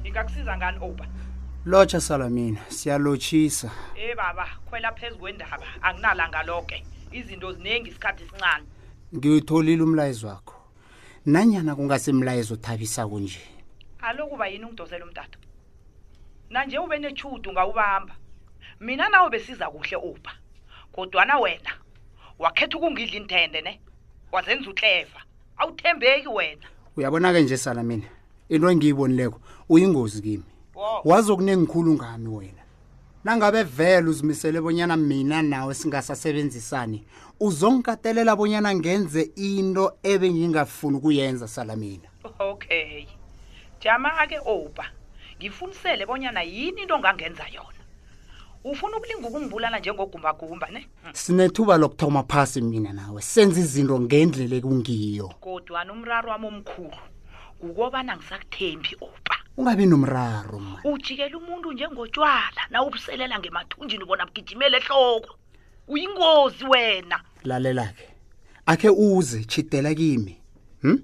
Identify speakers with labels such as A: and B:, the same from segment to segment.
A: ndingakusiza ngani oba
B: lotsha salamina siyalotshisa
A: e baba khwela phezu kwendaba anginalanga loke izinto ziningi isikhathi esincane
B: ngiwutholile umlayezo wakho nanyana kungasemlayezo othabisako nje
A: alokuba yini ungidosela umtato nanje ube netshudu ngawubamba mina nawe besiza kuhle uba kodwana wena wakhetha ukungidla intende ne wazenza utleva awuthembeki wena
B: uyabona-ke nje salamina into engiyibonileko uyingozi kimi
A: Wo.
B: wazi okuningikhulu ngami wena nangabe vele uzimisele bonyana mina nawe singasasebenzisani uzongikatelela bonyana ngenze into ebengingafuni ukuyenza salamina
A: okay jama-ke oba ngifunisele bonyana yini into ongangenza yona ufuna ukulinga ukungibulala njengogumbagumba ne Hmm.
B: sinethuba lokuthoma phasi mina nawe senze izinto ngendlela ekungiyo
A: kodwana umraro wami omkhulu kukobana ngisakuthembi oba
B: ungabi nomraro ma
A: ujikela umuntu njengotshwala nawubuselela ngemathunjini bona bugijimele ehloko uyingozi wena
B: lalela-ke akhe uze tshidela kimi hm?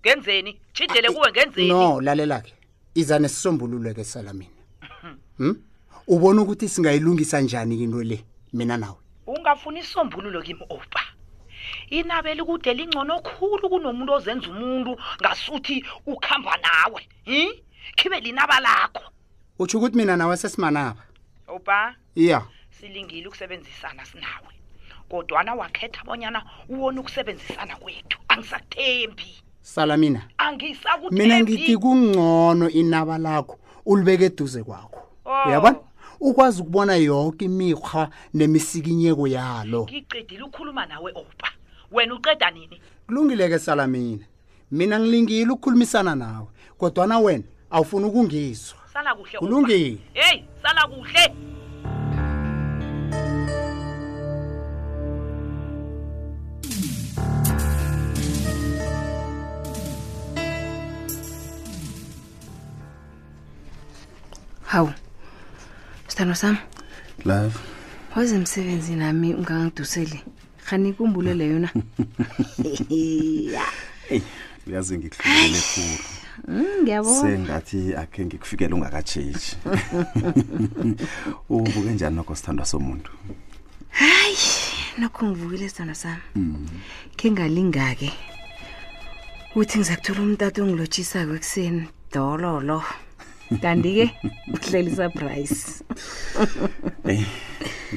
A: ngenzeni tshidele kuwe ngenzeni
B: no lalela-ke iza nesisombululeke salamina
A: Mhm.
B: hm? ubona ukuthi singayilungisa njani into le mina nawe
A: ungafuni isombululo kimi oba inabeli kude lingcono khulu kunomuntu ozenza umuntu ngasuthi ukhamba nawe hmm? khibe linaba lakho
B: utsho ukuthi mina nawe sesimanaba
A: oba
B: iya
A: silingile ukusebenzisana sinawe kodwana wakhetha bonyana uwona ukusebenzisana kwethu angisakuthembi
B: salamina mina ngithi
A: angisakuthembi
B: kungcono inaba lakho ulibeke eduze kwakho
A: Oh.
B: uyabona ukwazi ukubona yonke imikhwa nemisikinyeko yalo
A: ngiqedile ukukhuluma nawe oba wena uqeda nini
B: kulungileke salamina mina ngilingile ukukhulumisana nawe kodwana wena awufuni ukungizwa
A: sala kuhle Opa.
B: kulungile
A: heyi sala kuhle
C: hawu sithando sami
D: love
C: waze emsebenzi nami ungangiduseli khani kumbulele yona
D: eyi uyazi ngikuhlukele khulu
C: Mm, ngiyabona
D: sengathi akhe ngikufikele ungakatshetshi uvuke njani nokho sithandwa somuntu
C: nokho ngivukile sithando sami khe ngalinga-ke uthi ngizakuthola umtata ongilotshisako ekuseni dololo kanti-ke uhleli surprise
D: eyi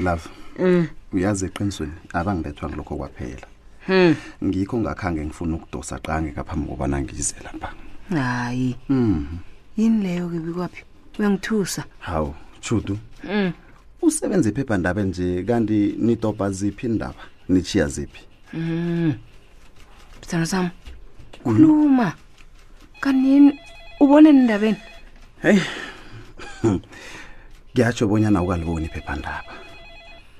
D: love Eh, uyazi eqinisweni abangilethwa ngilokho kwaphela
C: Hmm.
D: ngikho ngakhange ngifuna ukudosa qange ngaphambi kobana ngize lapha
C: hayi Hmm.
D: mm.
C: yini leyo-ke bikwaphi uyangithusa
D: hawu chudu usebenza iphephandaba nje kanti nidobha ziphi indaba nichiya ziphi
C: sithando sami khuluma kanini ubone nendabeni
D: heyi ngiyatsho bonyana ukaliboni iphephandaba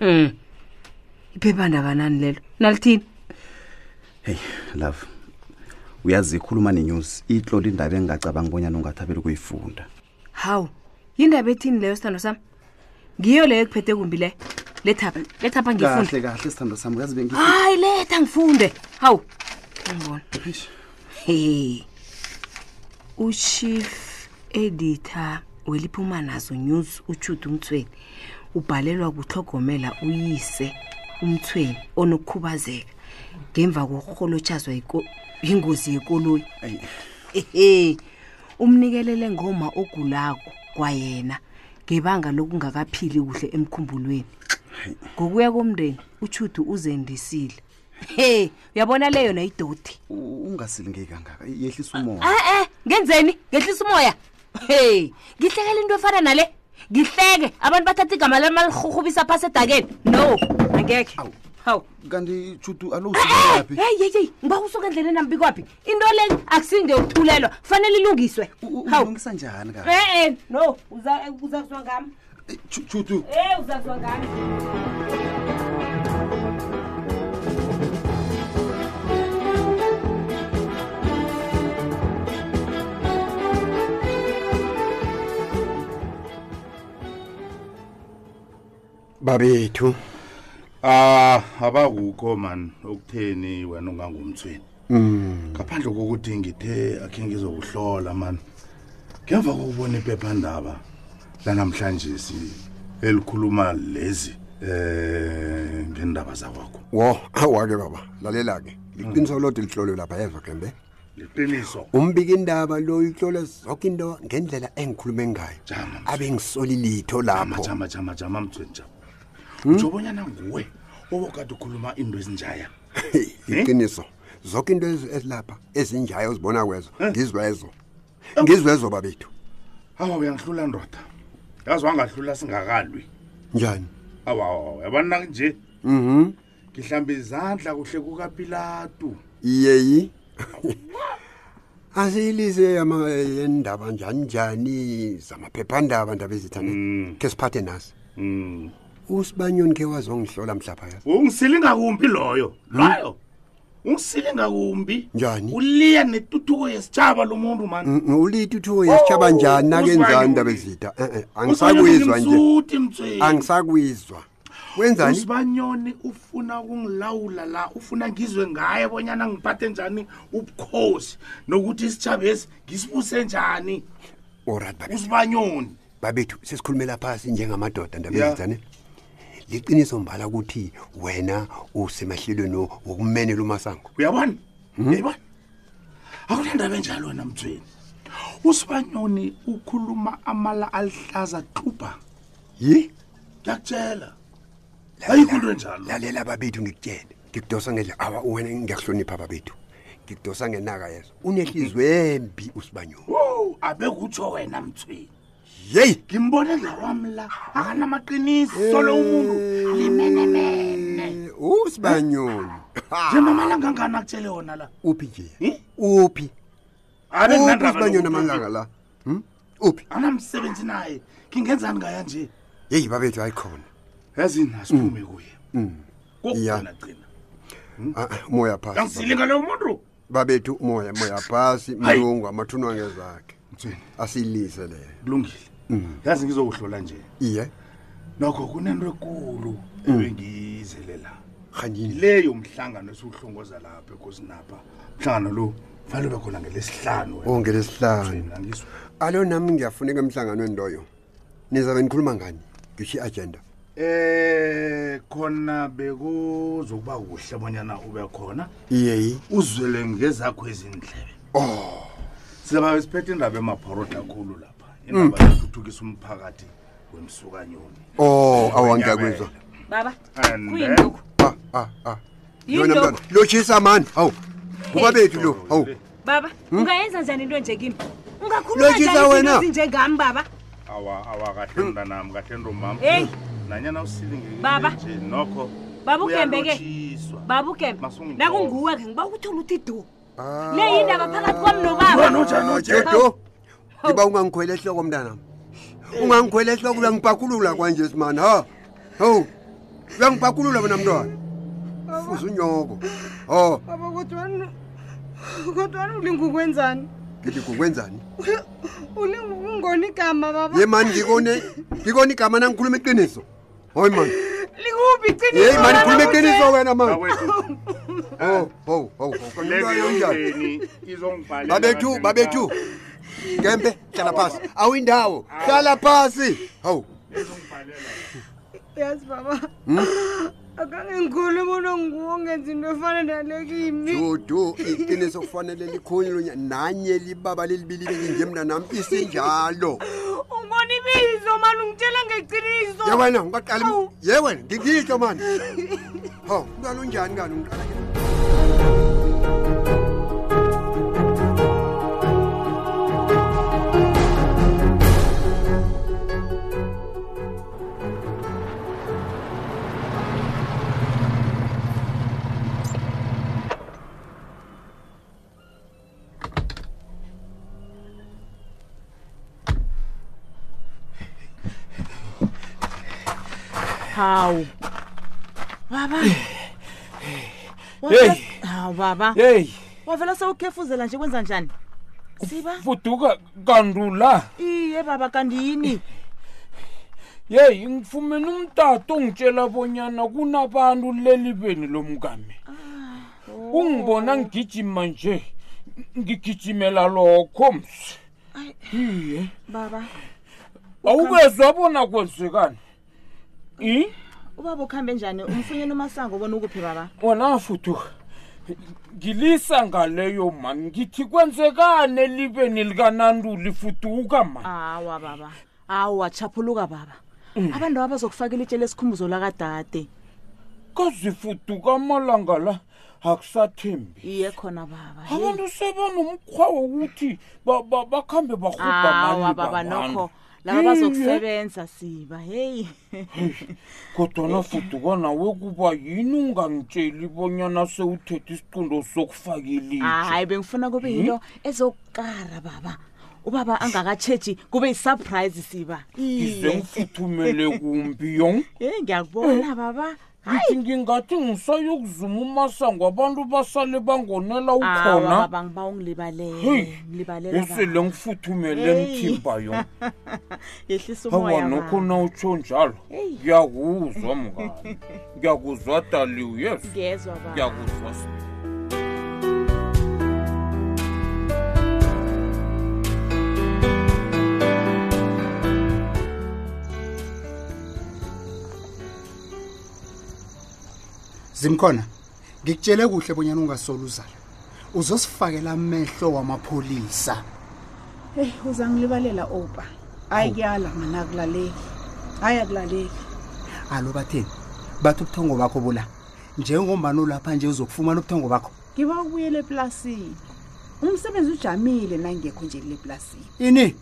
C: Mm. iphephandaba nani lelo nalithini
D: heyi love uyazi ikhuluma nenews itlola indaba engingacabanga bonyana ungathabeli ukuyifunda
C: hawu yindaba ethini leyo sithando sami ngiyo leyo ekuphethe kumbi leyo lethapha lethapha ngifunde
D: kahle kahle sithando sami uyazi bengi
C: hayi letha ngifunde hawu ngibona he uchief editor weliphuma nazo news utshuda umthweni ubhalelwa kuhlogomela uyise umthweni onokukhubazeka ngemva kokurholotshazwa yiko- yingozi yekoloyi ehe umnikelele ngoma ogulako kwayena ngebanga lokungakaphili kuhle emkhumbulweni ngokuya komndeni utshudu uzendisile he uyabona le yona idoti
D: ungasilingeki kangaka yehlisa umoya
C: a-e ngenzeni ngehlisa umoya he ngihlekele into efana nale ngihleke abantu bathatha igama lamalirhurhubisa phasi edakeni no angekhe hawu
D: kanti chudu
C: Eh,
D: alowusukelaphi
C: hey yeyeyi ngiba usuke endleleni nambi kwaphi into le akusinge yokuthulelwa fanele ilungiswe hawu
D: ulungisa njani ka
C: e-e no uzakuzwa ngami
D: chudu
C: e uzakuzwa ngami
B: babethu
E: ah abakukho man okutheni wena ungangumthweni ngaphandle kokuthi ngithe akhe ngizokuhlola man ngemva kokubona iphephandaba lanamhlanje si elikhuluma lezi eh ngendaba zakwakho
F: wo awake baba lalela-ke liqiniso
E: Mm.
F: lodwa lihlolwe lapha yeva gembe
E: liqiniso
F: umbikindaba lo uyihlole zonke into ngendlela engikhulume ngayo
E: Jama, mzukulu.
F: abe ngisoli litho
E: jama
F: lapho
E: jama jama jama mthweni jama ujobonyana nguwe obokade ukhuluma into ezinjaya
F: Hey,
E: Eh?
F: liqiniso zonke into ezi- ezilapha ezinjayo ozibona kwezo
E: Eh?
F: ngizwezo ngizwezo babethu
E: awa uyangihlula ndoda yazi wangahlula singakalwi
F: njani
E: awa yabana nje
F: mhm
E: ngihlambe izandla kuhle kukapilatu
F: yeyi asiyilise ama- yendaba njani njani zamaphephandaba ndaba ezithane ke siphathe nasi
E: Mm.
F: usibanyoni ke wazongihlola mhlapha yazi
E: ungisilinga kumbi loyo loyo ungisilinga kumbi
F: Njani?
E: uliya netutuko yesitshaba lomuntu mani
F: Mm, uliti uthiwo yesitshaba njani
E: Oh,
F: nakenzani indaba ezitha Eh, eh, angisakuyizwa nje
E: nje mtsweni
F: angisakuyizwa wenzani
E: usibanyoni ufuna ukungilawula la ufuna ngizwe ngaye bonyana ngiphathe njani ubukhosi nokuthi isitshaba esi ngisibuse njani
F: orit babethu
E: usibanyoni
F: babethu sesikhulumela phasi njengamadoda ndaba
E: Ya.
F: ezithane liqiniso mbala ukuthi wena usemahlelweni wokumenela umasango
E: uyabona uyayibona akunendaba enjalo wena mtsweni usibanyoni ukhuluma amala alihlaza xubha
F: yi
E: ngiyakutshela ayikho into enjalo
F: lalela babethu ngikutshele ngikudosa ngendla awa wena ngiyakuhlonipha babethu ngikudosa ngenaka yezo unehlizwe embi usibanyoni
E: wo abekutsho wena mthweni
F: yeyi
E: ngimbone ngawami la akanamaqiniso lo umuntu limenemene
F: Eh, usibanyoni
E: njengamalanga angani akutshele yona la
F: uphi nje
E: Hi?
F: uphi
E: Abe
F: uphi
E: kunandaba
F: usibanyoni
E: nokuthi-
F: Oh, amalanga la Hmm? uphi
E: anamsebenzi naye ngingenzani ngaya nje
F: yeyi babethu hayi khona
E: yazi nasiphume kuye kokugcina
F: Ya.
E: gcina
F: Ah, ah, moya phasi
E: angisilinga lo muntu
F: babethu moya moya phasi
E: Hayi.
F: mlungu amathunwa ngezakhe
E: mthweni
F: asiyilise leyo
E: kulungile yazi ngizokuhlola nje
F: iye
E: nokho kunento ekulu ebengiyizelela
F: hanini
E: leyo mhlangano esiwuhlongoza lapha ekosinapha mhlangano lo fanele ube khona ngelesihlanu
F: Oh,
E: wena.
F: ongelesihlanu
E: Mthweni, angizwa
F: alo nami ngiyafuneka emhlanganweni loyo nizabe nikhuluma ngani ngisho i-agenda
E: Eh khona bekuzokuba kuhle bonyana ube khona
F: iyeyi
E: uzwele ngezakho izindlebe. Oh. Sizabe siphethe indaba emaphorot kakhulu lapha. Indaba yokuthuthukisa umphakathi wemsukanyoni.
F: o awangiyakwizwa
C: baba
E: And
C: kuyini
E: then-
C: lokhu
F: oh, Ah, ah, ah.
C: Yini
F: yona
C: lokhu?
F: mntwana lotshisa mani hawu ubabethu lo hawu
C: baba ungayenza njani into nje kimi ungakhuluma
F: Lotshisa wena.
C: njani njengami baba
E: Awa awa kahle mntanami kahle ntomama.
C: Hey.
E: Nanyana usilingekile
C: Baba.
E: nje nokho.
C: Baba uGembeke.
E: uyalotshiswa.
C: baba ukembe
E: Masungi-
C: nakunguwe-ke ngiba ukuthula uthi du
F: Ah.
C: le yindaba phakathi kwami nobaba
E: Wena unjani nje?
F: jedo ngiba ungangikhwela ehloko mntanam ungangikhwela ehloko uyangipakulula kwanje simani ha hawu uyangipakulula wena mntwana fuze unyoko ho
G: baba kodwani kodwani ulingukwenzani
F: ngithi kukwenzani
G: ulingukungona igama baba
F: ye mani ngikone ngikone igama nangikhuluma iqiniso hoyi mani
G: likuphi
F: yeyi mani
G: baba,
F: khuluma iqiniso wena mani
E: Bakwethu
F: ho ho ho kanjani
E: lengeni izongibhalela.
F: babethu
E: kahle
F: babethu gembe hlala phasi awuyindawo hlala phasi hawu
G: yazi baba akangengikhulu umuntu onguwo ngenza into efana nale kimi
F: dudu iqiniso kufanele likhulunywa nanye libaba lelibilibeki nje mna nami isinjalo
G: ungona ibizo mani ungitshela ngeqiniso
F: ye wena ngaqala ye wena ngingitsho mani ho umntwana unjani kani umntwana ke?
H: hawu baba
I: Hey.
H: hawu baba
I: Hey,
H: wavela sewukhefuzela nje kwenza njani siba
I: fuduka kandula. Eh,
H: iye baba kandiyini
I: Hey, ngifumene umtato ongitshela bonyana kunabantu lelibeni lomkami. Ungibona ngigijima nje. Ngigijimela lokho msi. iye
C: baba
I: awukezwa bona kwenzekani i
C: ubaba ukuhambe njani umfunyeni umasango bona ukuphi baba
I: wona fuduka ngilisa ngaleyo mani ngithi kwenzekani elibeni likananduli fuduka mani
C: awa baba awa chaphuluka baba
I: Mm.
C: abantu abazokufakela itshela esikhumbuzo lakadade
I: kazifuduka amalanga la akusathembi
C: iye khona baba hey.
I: abantu sebanomkhwa wokuthi ba- ba- bakhambe barhubha
C: awa
I: mani
C: baba
I: babantu.
C: nokho laba
I: Iye. Eh,
C: bazokusebenza siba heyi
I: kodwana fuduka nawe kuba yini ungangitsheli bonyana sewuthethe isiqundo sokufakelitsho
C: hayi bengifuna
I: Eh?
C: kube yinto ezokukara baba ubaba angakatshetshi kube yisurprise siba
I: ngize
C: iye
I: ngifuthumele kumbi yong
C: heyi
I: Eh.
C: ngiyakubona baba
I: ngithi ngingathi ngisayokuzuma umasango abantu basale bangonela ukhona
C: awa baba ngiba ungilibalele
I: Hey,
C: ngilibalele
I: esele ngifuthumele
C: Hey.
I: mthimba yong
C: yehlisa
I: hawa
C: umoya
I: nokho
C: baba.
I: nawutsho njalo
C: Hey.
I: ngiyakuzwa mngani ngiyakuzwa daliw yes
C: ngezwa baba
I: ngiyakuzwa sibili.
B: zimkhona ngikutshele kuhle bonyana ungasoli uzala uzosifakela amehlo wamapholisa
A: heyi Eh, uzangilibalela opa
B: Oh.
A: hayi kuyala mina akulaleki hayi akulaleki
B: alo batheni bathi ubuthongo bakho bula njengombani ulapha nje uzokufumana ubuthongo bakho
A: ngiba ubuyela eplasini umsebenzi ujamile nangekho nje kule plasini
B: ini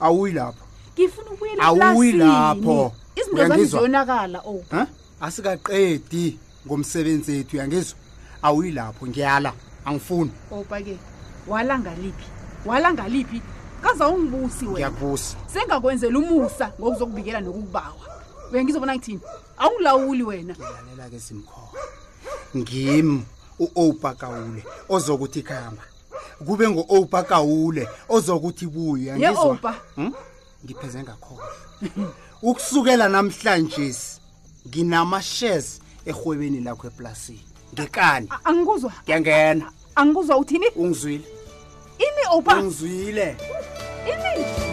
B: awuyi lapho
A: ngifuna ubuyela
B: Awuyi
A: eplasini.
B: lapho.
A: izinto zami
B: Uyangizwa?
A: ziyonakala Oh. opa
B: ha asikaqedi ngomsebenzi ethu uyangizwa awuyi lapho ngiyala angifuni
A: opa-ke wala ngaliphi wala ngaliphi kazawungibusi wena
B: ngiyakubusa
A: sengakwenzela umusa ngokuzokubikela nokukubawa uyangizobona ngithini awungilawuli wena
B: lalela-ke zimkhona ngim u-opa kawule ozokuthi khamba kube ngu-opa kawule ozokuthi buye
A: ye
B: uyangizwa?
A: opa
B: ngipheze ngakhohlwa ukusukela namhlanje nginama-shares erhwebeni lakho eplasini ngekani
A: a- angikuzwa
B: ngiyangena
A: angikuzwa uthini
B: ungizwile
A: ini opa
B: ungizwile
A: ini